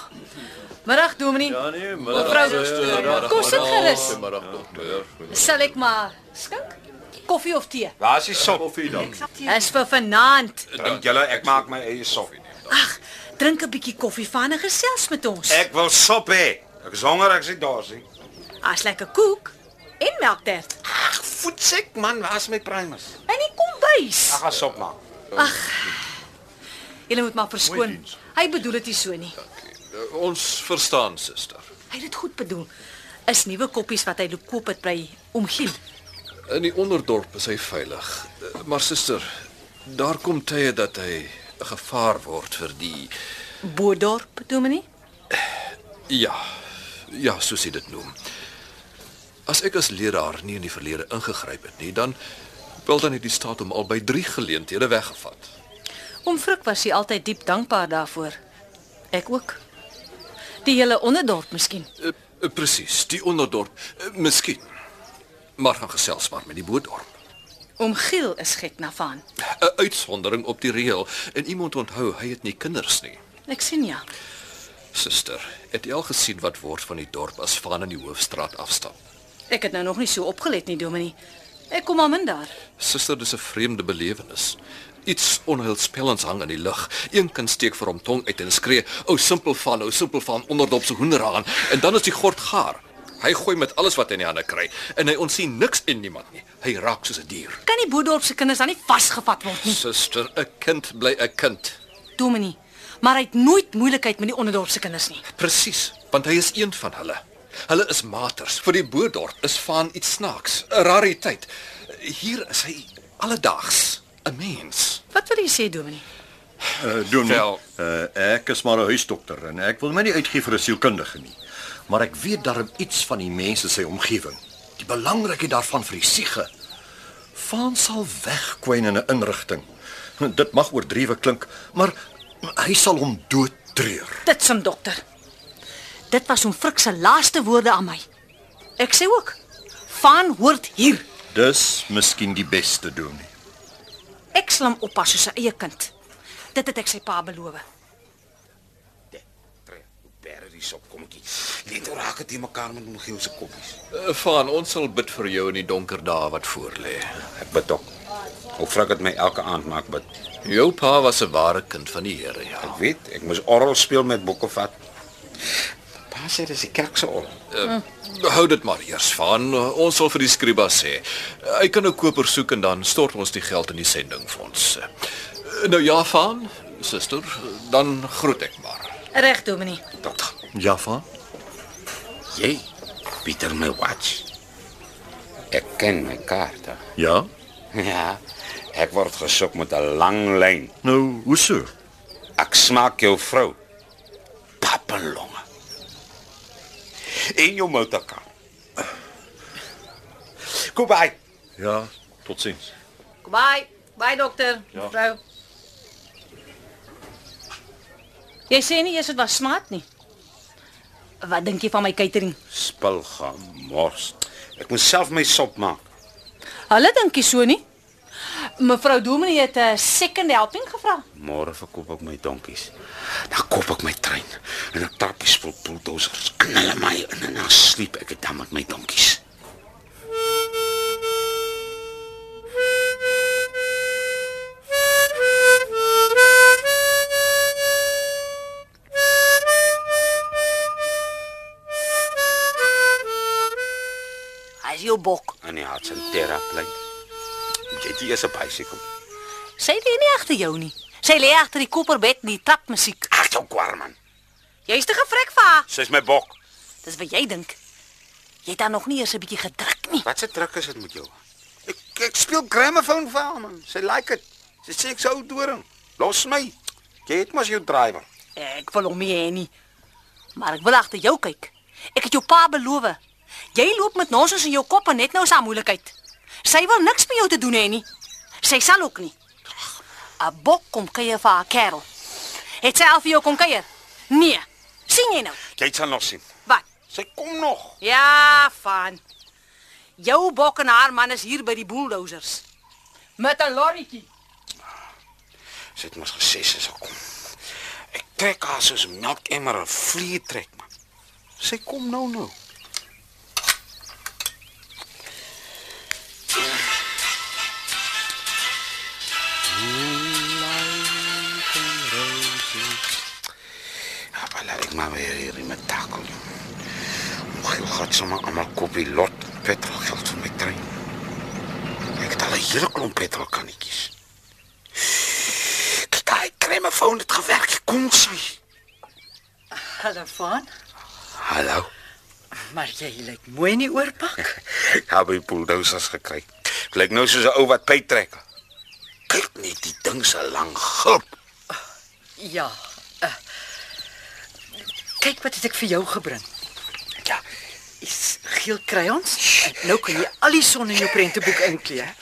Speaker 7: middag Dominee. Ja nee,
Speaker 4: ja,
Speaker 7: middag. Kom sit gerus.
Speaker 5: Middag dokter.
Speaker 7: Sal ek maar skink? Koffie of tee?
Speaker 4: Waar ja. is die sop?
Speaker 7: Dis vir vanaand.
Speaker 4: Dink julle ek maak my eie sop?
Speaker 7: Ag, drink 'n bietjie koffie van en gesels met ons.
Speaker 4: Ek wil sop hê. Ek is honger, ek sê daar's nie.
Speaker 7: As lekker koek en melktert.
Speaker 4: Ag, voetsek man, waar's my primus?
Speaker 7: En die kombuis.
Speaker 4: Ek gaan sop maak.
Speaker 7: Jy moet maar verskoon. Hy bedoel dit nie so nie.
Speaker 5: Eh, Ons verstaan, suster.
Speaker 7: Hy het dit goed bedoel. Is nuwe koppies wat hy loop koop het by Omgiel.
Speaker 5: In die onderdorp is hy veilig. Eh, Maar suster, daar kom tye dat hy 'n gevaar word vir die
Speaker 7: Boerdorp, Dominee.
Speaker 5: ja, ja, soos hy dit noem. As ek as leraar nie in die verlede ingegryp het nie, dan wel dan het die staat hom al by 3 geleenthede weggevat.
Speaker 7: Oom Frik was hy altyd diep dankbaar daarvoor. Ek ook. Die hele onderdorp miskien.
Speaker 5: Eh, eh, Presies, die onderdorp, eh, miskien. maar gaan gesels maar met die boodorp.
Speaker 7: Oom Giel is gek na van.
Speaker 5: 'n Uitsondering op die reël en iemand onthou hy het nie kinders nie.
Speaker 7: Ek sien ja.
Speaker 5: Suster, het jy al gesien wat word van die dorp as van in die hoofstraat afstap?
Speaker 7: Ek het nou nog nie so opgelet nie, Dominie. Ek kom al min daar.
Speaker 5: Suster, dis 'n vreemde belewenis. Iets onheilspellends hang in die lug. Een kind steek vir hom tong uit en skree: "O simpel van, o simpel van, onderdop se hoenderhaan." En dan is die gord gaar. Hy gooi met alles wat hy in die hande kry en hy onsien niks en niemand nie. Hy raak soos 'n dier.
Speaker 7: Kan die boedorp se kinders dan nie vasgevat word nie,
Speaker 5: Suster, 'n kind bly 'n kind.
Speaker 7: Dominie? Maar hy het nooit moeilikheid met die onderdorp se kinders nie.
Speaker 5: Presies, want hy is een van hulle. Hulle is maters. Vir die boerdorp is van iets snaaks, 'n rariteit. Hier is hy alledaags, 'n mens.
Speaker 7: Wat wil jy sê, Dominie?
Speaker 6: Uh, doen.
Speaker 5: Vel.
Speaker 6: Uh, ek is maar 'n huisdokter en ek wil my nie uitgee vir 'n sielkundige nie. Maar ek weet darm iets van die mense in sy omgewing. Die belangrikheid daarvan vir die siege. Van sal wegkwyn in 'n inrigting. Nou, Dit mag oordrewe klink, maar hy sal hom dood treur.
Speaker 7: Dit sim dokter. Dit was oom Frik se laaste woorde aan my. Ek sê ook, "Van hoort hier."
Speaker 6: Dis miskien die beste doen. nie.
Speaker 7: Ek sal hom oppas soos 'n eie kind. Dit het ek sy pa beloof.
Speaker 4: Berre die sop kommetjie. Net oor nou raak dit in mekaar met hom gielse koppies.
Speaker 5: Eh, Van, ons sal bid vir jou in die donker dae wat voorlê.
Speaker 4: Ek bid ook. Ek vra dit my elke aand maar ek bid.
Speaker 5: Jou pa was 'n ware kind van die Here, ja.
Speaker 4: Ek weet, ek moes orgel speel met Bokkevat. Pa sê dis die kerk se orgel.
Speaker 5: Hou dit maar eers, Van. Ons sal vir die skriba sê. Hy kan 'n koper soek en dan stort ons die geld in die sendingfonds. Eh, Nou ja, Van, suster, dan groet ek maar.
Speaker 7: Reg, Dominie.
Speaker 4: Dokter,
Speaker 6: Jaffa,
Speaker 4: jy Pieter my watch. Ek ken my kaarte.
Speaker 6: ja.
Speaker 4: Ja. Ek word gesop met 'n lang lyn.
Speaker 6: Nou, hoe so?
Speaker 4: Ek smaak jou vrou. Papelonge. En jou motorkar. Kom by.
Speaker 6: Ja, totsiens.
Speaker 7: Kom by. Bye dokter. Ja. Mevrou. Jy sê nie eers dit was smaak nie. Wat dink jy van my catering?
Speaker 4: Spil gaan mors. Ek moet self my sop maak.
Speaker 7: Hulle dink nie so nie. Mevrou Dominee het 'n second helping gevra.
Speaker 4: Môre verkoop ek my donkies. Dan koop ek my trein en ek trap die spul bulldozers. Knel my in en dan sleep ek dit dan met my donkies.
Speaker 7: As jou bok.
Speaker 4: En die harts en terra plein. Jy het eers 'n bicycle.
Speaker 7: Sy lê nie agter jou nie. Sy lê agter die kopperbed en die trapmusiek.
Speaker 4: Ag, jou kwarman.
Speaker 7: Jy's te gevrek vir haar.
Speaker 4: Sy's my bok.
Speaker 7: Dis wat jy dink. Jy het dan nog nie eers 'n bietjie gedruk nie.
Speaker 4: Wat se druk is dit met jou? Ek ek speel gramophone vir haar man. Sy like dit. Sy sê ek sou doring. Los my. Jy het mos jou drywer.
Speaker 7: Ek Eh, wil hom nie hê nie. Maar ek wil agter jou kyk. Ek het jou pa beloof. Jy loop met nonsens in jou kop en net nou is haar moeilikheid. Sy wil niks met jou te doen hê nie. Sy sal ook nie. 'n Bok kom kuier vir haar kerel. Het sy al vir jou kom kuier? Nee. sien jy nou?
Speaker 4: Jy sal nog sien.
Speaker 7: Wat?
Speaker 4: Sy kom nog.
Speaker 7: Ja, van. Jou bok en haar man is hier by die bulldozers. Met 'n lorretjie.
Speaker 4: Sy het mos gesê sy sal kom. Ek trek haar soos 'n melkemmer 'n vlieg trek man. Sy kom nou nou. Ja, maar laat ek maar weer hier in my takel. Mag ek gats sommer almal kopie lot petrolgeld vir my trein. Ek het al 'n hele klomp petrolkannetjies. Kyk, daai kremofoon het gewerk. Kom sy.
Speaker 8: Hallo Van,
Speaker 4: Hallo.
Speaker 8: maar jy lyk mooi in die oorpak.
Speaker 4: Ek het by bulldozers gekry. Ek lyk nou soos 'n ou wat pyn trek. Kyk net die ding se lang gulp.
Speaker 8: Ja.
Speaker 7: eh,
Speaker 8: Uh, kyk wat het ek vir jou gebring.
Speaker 4: Ja,
Speaker 8: Is geel crayons. En Nou kan jy al die son in jou prenteboek inkleer.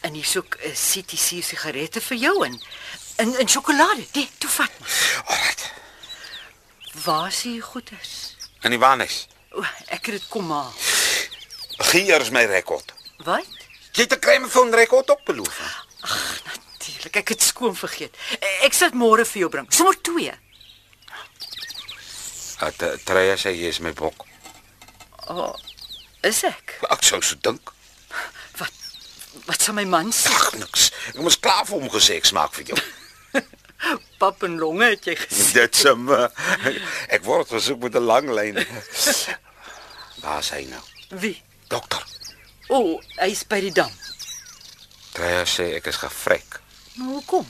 Speaker 8: En hier's ook
Speaker 7: eh,
Speaker 8: 'n CTC sigarette vir jou en en en sjokolade.
Speaker 7: Nee,
Speaker 8: Dit, toe vat maar.
Speaker 4: alright.
Speaker 8: Waar is die goeders?
Speaker 4: En die wanis.
Speaker 8: O, ek het dit kom haal.
Speaker 4: Hier is my rekord.
Speaker 7: Wat?
Speaker 4: Jy het 'n Gramophone rekord opbeloof.
Speaker 7: Natuurlik, ek het skoon vergeet. Ek sal dit môre vir jou bring. Sommer twee.
Speaker 4: Dat Treya eh, sê jy is my bok.
Speaker 7: Is ek?
Speaker 4: Ek sou so dink.
Speaker 7: Wat wat sal my man sê?
Speaker 4: Ag niks. Ek moes klaar vir hom gesê ek smaak vir jou.
Speaker 7: Pap en longe het jy gesê.
Speaker 4: Dit is hom. Ek word gesoek met 'n lang lyn. Waar is hy nou?
Speaker 7: Wie?
Speaker 4: Dokter.
Speaker 7: O, oh, hy's by die dam.
Speaker 4: Treya sê ek is gevrek.
Speaker 7: Nou hoekom?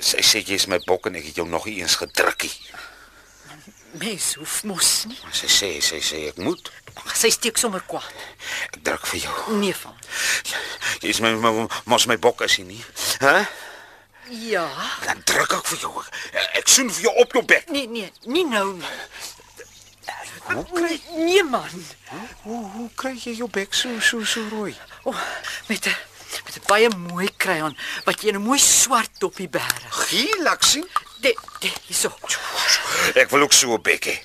Speaker 4: Sy sê jy is my bok en ek het jou nog nie eens gedrukkie.
Speaker 7: Mens hoef mos nie.
Speaker 4: Maar sy sê sy sê ek moet.
Speaker 7: Sy steek sommer kwaad.
Speaker 4: Ek druk vir jou.
Speaker 7: Nee van.
Speaker 4: Jy is my, my mos my bok as jy nie. Hæ?
Speaker 7: Ja.
Speaker 4: Dan druk ek vir jou. Ek, ek soen vir jou op jou bek.
Speaker 7: Nee nee, nie nou nie. Nee, nee man.
Speaker 4: Hoe hoe kry jy jou bek so so so rooi?
Speaker 7: O, oh, met 'n met 'n baie mooi krayon wat jy in 'n mooi swart dopie bære.
Speaker 4: Giel, ek sien.
Speaker 7: Dit dit hierso.
Speaker 4: Ek wil ook so 'n bek hê.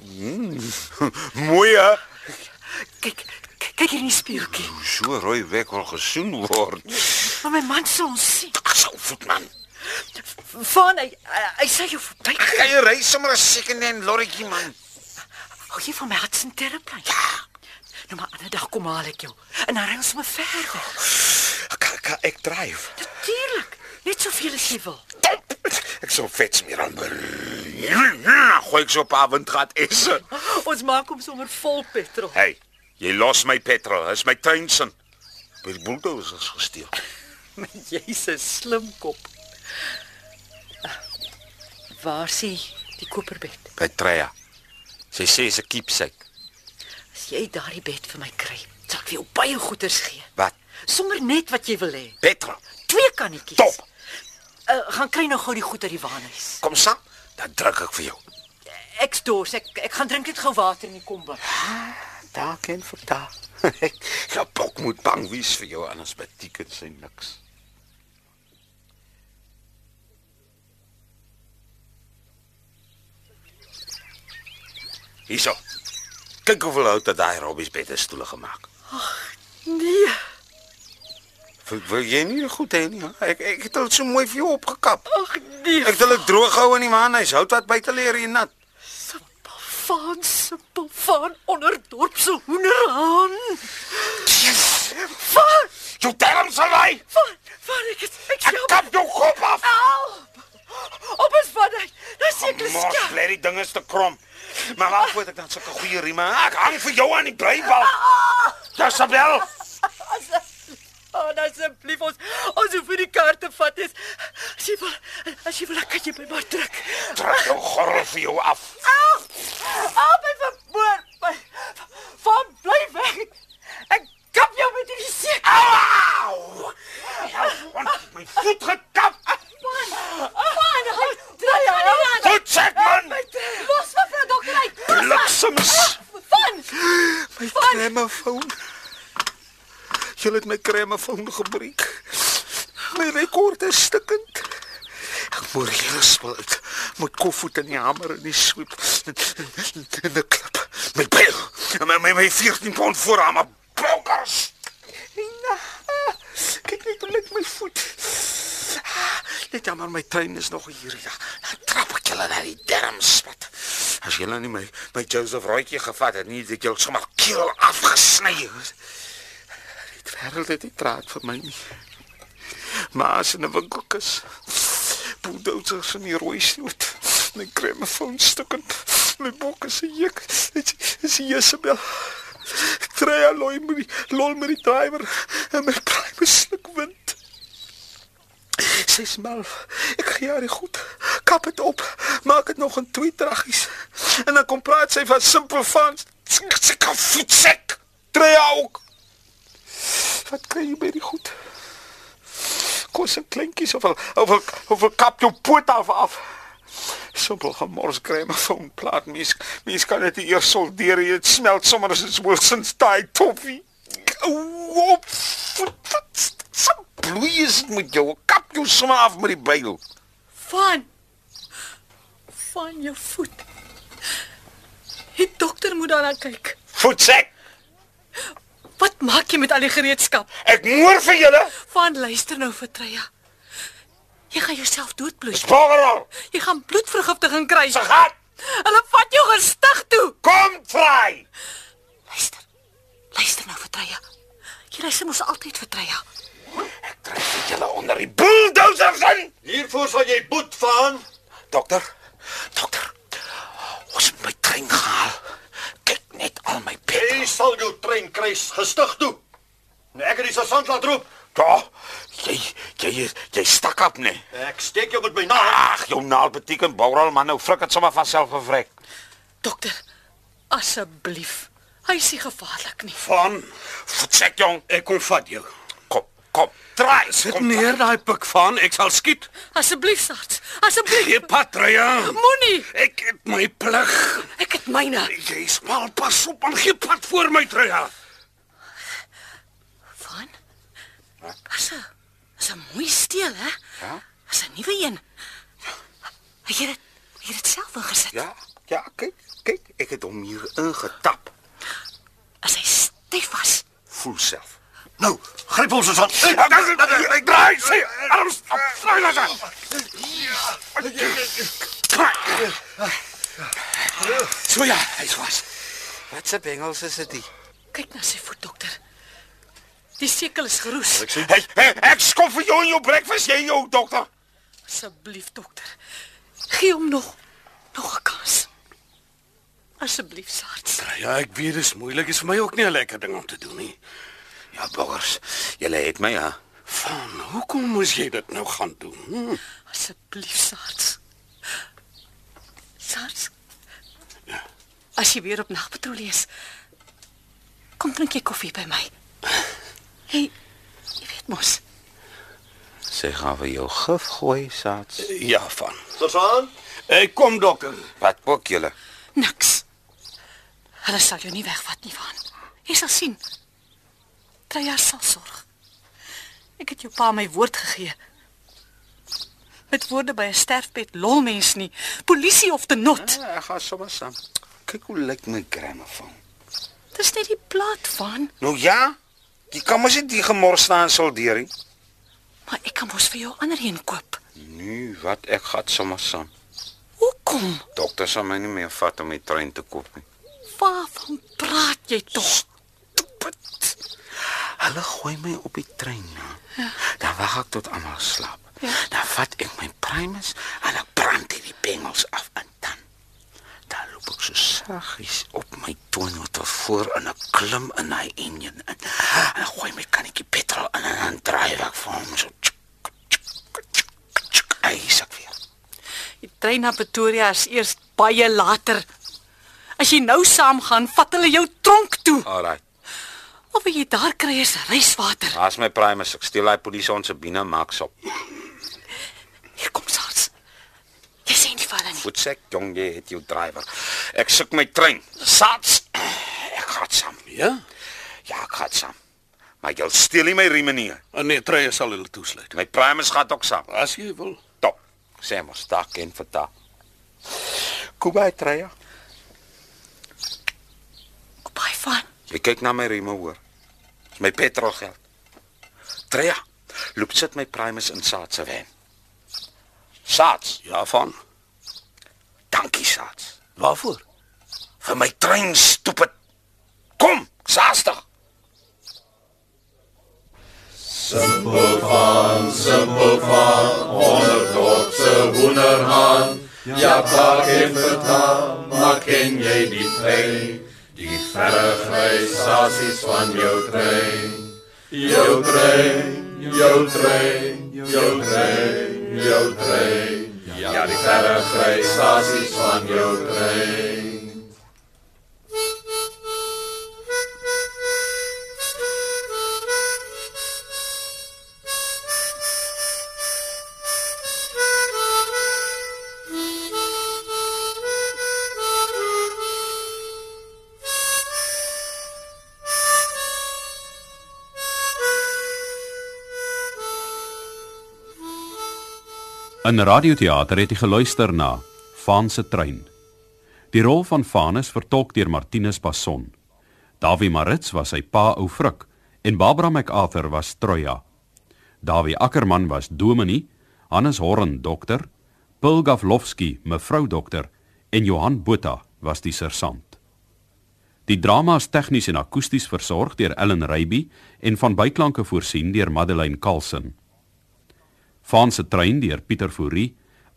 Speaker 4: Mm. Mooi hè?
Speaker 7: Kyk, kyk, kyk hier in die spieeltjie.
Speaker 4: So rooi bek wil gesoen word.
Speaker 7: Maar my man sal ons sien.
Speaker 4: Ag, sou voet man.
Speaker 7: Van hy hy- hy sê jy verby.
Speaker 4: Jy ry sommer 'n second-hand lorretjie man.
Speaker 7: Hou jy van my hartsin terreplan? Ja. Nou maar 'n ander dag kom haal ek jou en dan ry ons sommer verder.
Speaker 4: Ek ek, ek dryf.
Speaker 7: Natuurlik. Net soveel as jy wil.
Speaker 4: Ek sou vet smeer aan. Gooi ek so 'n paar windgat is.
Speaker 7: Ons maak hom sommer vol petrol.
Speaker 4: Hey, jy los my petrol. Dis my tuinsin. By die bulldozer is gesteel.
Speaker 7: Jy's 'n slim kop. Waar sien die koperbed?
Speaker 4: By Treya. Sy sê dis 'n keepsake.
Speaker 7: As jy daardie bed vir my kry, sal ek vir jou baie goeders gee.
Speaker 4: Wat?
Speaker 7: Sommer net wat jy wil hê.
Speaker 4: Petrol.
Speaker 7: Twee kannetjies.
Speaker 4: Top.
Speaker 7: Uh, gaan kry nou gou die goed uit die waanhuis.
Speaker 4: Kom saam. Dan druk ek vir jou.
Speaker 7: Ek's dors. Ek ek gaan drink net gou water in die kombuis.
Speaker 4: Daar ken vir daar. Ja, bok moet bang wees vir jou anders by tickets sy niks. Hierso. Kyk hoeveel hout dat daai robbies beter stoele gemaak.
Speaker 7: Nee.
Speaker 4: Wil, wil jy nie goed hê nie? hè? Ek ek het dit so mooi vir jou opgekap.
Speaker 7: Ag nee.
Speaker 4: Ek het dit droog hou in die maanhuis. Hout wat buite lê hier nat.
Speaker 7: Simpel van simpel van onder dorp se hoenderhaan. Van
Speaker 4: Jou darm sal hy.
Speaker 7: van van ek het ek
Speaker 4: Ek kap jou kop af.
Speaker 7: Help! Op is van hy. Dis ja. ek
Speaker 4: Mors,
Speaker 7: skat.
Speaker 4: bly die ding is te krom. Maar waar moet ek dan sulke goeie rieme? hè? Ek hang vir jou aan die breibal. Josabel,
Speaker 7: Oh, nou asseblief ons ons hoef nie die kaart te vat is. As jy wil, as jy wil, dan kan jy my maar druk.
Speaker 4: trek jou gorrel vir jou af.
Speaker 7: Au! Au my verboor. My van bly weg. Ek kap jou met hierdie seep.
Speaker 4: Au! Want my voet gekap.
Speaker 7: Man, man, hy draai jou aan.
Speaker 4: Goed sê man.
Speaker 7: Los my vrou dokter uit.
Speaker 4: Bliksems.
Speaker 7: Van.
Speaker 4: My kremofoon. Jy het my kremofoon gebreek. My rekord is stikkend. Ek moet hier spel uit. Moet koevoet in die hamer en die sweep en die klap. My pil. En my my, my 14 pond voorhamer. Bokkers. Kyk net hoe lyk my voet. Net jammer my trein is nog hier ja. Dan trap ek julle na die dermspot. As julle nie my my Joseph Rooitjie gevat het nie, het ek julle sommer keel afgesny. Die wêreld het nie draad vir my nie. Maar as in 'n winkelkas bulldozers in die rooi snoot, my kremofoon stukkend, my bokke se juk, dit is Jezebel. Ek Try alloy met die lol met die drywer en my pruim sluk wind. Sy smal. Ek gee haar die goed. Kap dit op. Maak dit nog in twee traggies. En dan kom praat sy van simpel van sy kan voetsek. Try ook. Wat kry jy by die goed? Kos en kleintjies of al- of al- of al kap jou poot af af. Simpel gemors krema van plaat mens. Mens kan dit nie eers soldeer nie. Dit smelt sommer as 'n Wilson staai toffee. Ou op. voet, voet, So bloei is dit met jou. Kap jou sommer af met die byl.
Speaker 7: Van. Van jou voet. Die dokter moet daarna kyk.
Speaker 4: Voetsek.
Speaker 7: Wat maak jy met al die gereedskap?
Speaker 4: Ek moer vir julle.
Speaker 7: Van luister nou vir Treya. Jy gaan jouself doodbloei.
Speaker 4: Spoggerol.
Speaker 7: Jy gaan bloedvergiftiging kry.
Speaker 4: Se gat.
Speaker 7: Hulle vat jou gestig toe.
Speaker 4: Kom vry.
Speaker 7: Luister. Luister nou vir Treya. Jy luister mos altyd vir Treya.
Speaker 4: Ek kry vir julle Ja, nou onder die bulldozers in.
Speaker 6: Hiervoor sal jy boet van.
Speaker 4: Dokter. Dokter. Ons het my trein gehaal. Kyk net al my pil.
Speaker 6: Jy sal jou trein kry gestig toe. Nee, ek het die sergeant laat roep.
Speaker 4: Ja, jy jy jy stak op nee.
Speaker 6: Ek steek jou met my naald.
Speaker 4: Ag, jou naald beteken Borrel man nou frik dit sommer van self gevrek.
Speaker 7: Dokter, asseblief. Hy is nie gevaarlik nie.
Speaker 4: Van voetsek jong.
Speaker 9: Ek kom vat jou.
Speaker 4: Kom, kom. Draai.
Speaker 9: Sit
Speaker 4: kom,
Speaker 9: neer daai pik van, ek sal skiet.
Speaker 7: Asseblief, Sarts. Asseblief.
Speaker 9: Gee patria.
Speaker 7: Moenie.
Speaker 9: Nee, Ek het my plig.
Speaker 7: Ek het myne.
Speaker 9: Jy smal pas op en gee pad voor my trea.
Speaker 7: Van? Asse. Dis 'n mooi steel, hè? Ja. Dis 'n nuwe een. Hy het dit hy het dit self ingesit.
Speaker 4: Ja, ja, kyk, kyk, ek het hom hier ingetap.
Speaker 7: As hy styf was.
Speaker 4: Voel self.
Speaker 6: Nou, gryp ons ons aan.
Speaker 4: Ek, ek, ek, ek, ek draai sy arms op. Vry laat aan. So ja, hy was. Wat se bengels is dit?
Speaker 7: Kyk na sy voet, dokter. Die sekel is geroes.
Speaker 4: Ek sê hey, hey, ek skof vir jou in jou breakfast jy jou dokter.
Speaker 7: Asseblief, dokter. Gee hom nog nog 'n kans. Asseblief, Sarts.
Speaker 9: Ja, ek weet dis moeilik, is vir my ook nie 'n lekker ding om te doen nie.
Speaker 4: Ja, boggers. Julle het my ja.
Speaker 9: Van, hoekom moes jy dit nou gaan doen? Hm?
Speaker 7: Asseblief, Sarts. Sarts. As jy weer op nagpatrollie is, kom drink jy koffie by my. Hey, jy weet mos,
Speaker 4: Sy gaan vir jou gif gooi, saats.
Speaker 9: Ja, van.
Speaker 6: Sergeant,
Speaker 4: Eh,
Speaker 9: Ek kom dokter.
Speaker 4: Wat ook julle.
Speaker 7: niks. Hulle sal jou nie wegvat nie van. Jy sal sien. Treyar sal sorg. Ek het jou pa my woord gegee. Met woorde by 'n sterfbed lol mens nie. Polisie of te not.
Speaker 4: Ja, ek gaan sommer saam. Kyk hoe lyk my grammofoon.
Speaker 7: Dis net die plaat van,
Speaker 4: Nou ja, jy kan mos nie die gemors staan soldeer nie.
Speaker 7: maar ek kan mos vir jou ander een koop.
Speaker 4: Nee, wat ek gaan sommer saam.
Speaker 7: Hoekom?
Speaker 4: Dokter sal my nie meer vat om die trein te koop nie.
Speaker 7: Waarvan praat jy tog?
Speaker 4: Put. Hulle gooi my op die trein nou. Ja. Dan wag ek tot almal slaap. Ja. Dan vat ek my primus en ek brand hierdie bengels af en dan dan loop ek so saggies op my toonhotel voor en ek klim in hy enjin in. En ek gooi my kannetjie petrol in en dan dryf ek vir hom so. Tjuk, tjuk, tjuk, tjuk. Hy sak weer.
Speaker 7: Die trein na Pretoria is eers baie later. As jy nou saamgaan, vat hulle jou tronk toe.
Speaker 4: Alraai.
Speaker 7: Of wat jy daar kry is reiswater.
Speaker 4: Daar's my primus. Ek steel daai polisie ons se bina maak sop.
Speaker 7: Hier kom Sars. Jy sien nie vir hulle nie.
Speaker 4: Voetsek, jong, jy het jou drywer. Ek soek my trein. Sats. Ek gaan saam.
Speaker 9: Ja?
Speaker 4: Ja, ek gaan saam. Maar jy steel nie my riem nie.
Speaker 9: En nee, Trey sal hulle toesluit.
Speaker 4: My primus gaan ook saam.
Speaker 9: As jy wil.
Speaker 4: Top. Sê maar stak en verta. Kuba treya.
Speaker 7: Kom by van.
Speaker 4: Jy kyk na my rieme hoor. Dis my petrolgeld. Treya. Loop sit my primus in Sats se wen. Sats.
Speaker 9: Ja, van.
Speaker 4: Dankie Sats.
Speaker 9: Waarvoor?
Speaker 4: Vir my trein stupid. Kom, saastig.
Speaker 1: In radioteater het hy geluister na Van se trein. Die rol van Vanus vertolk deur Martinus Bason. Dawie Marits was sy pa ou Frik en Barbara MacArthur was Troja. Dawie Ackerman was dominee, Hannes Horren dokter, Pulgavlovski mevrou dokter en Johan Botha was die sersant. Die drama is tegnies en akoesties versorg deur Ellen Reiby en van byklanke voorsien deur Madeleine Kalsen. Van se trein deur Pieter Fourie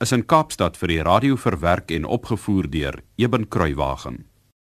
Speaker 1: is in Kaapstad vir die radio verwerk en opgevoer deur Eben Kruiwagen.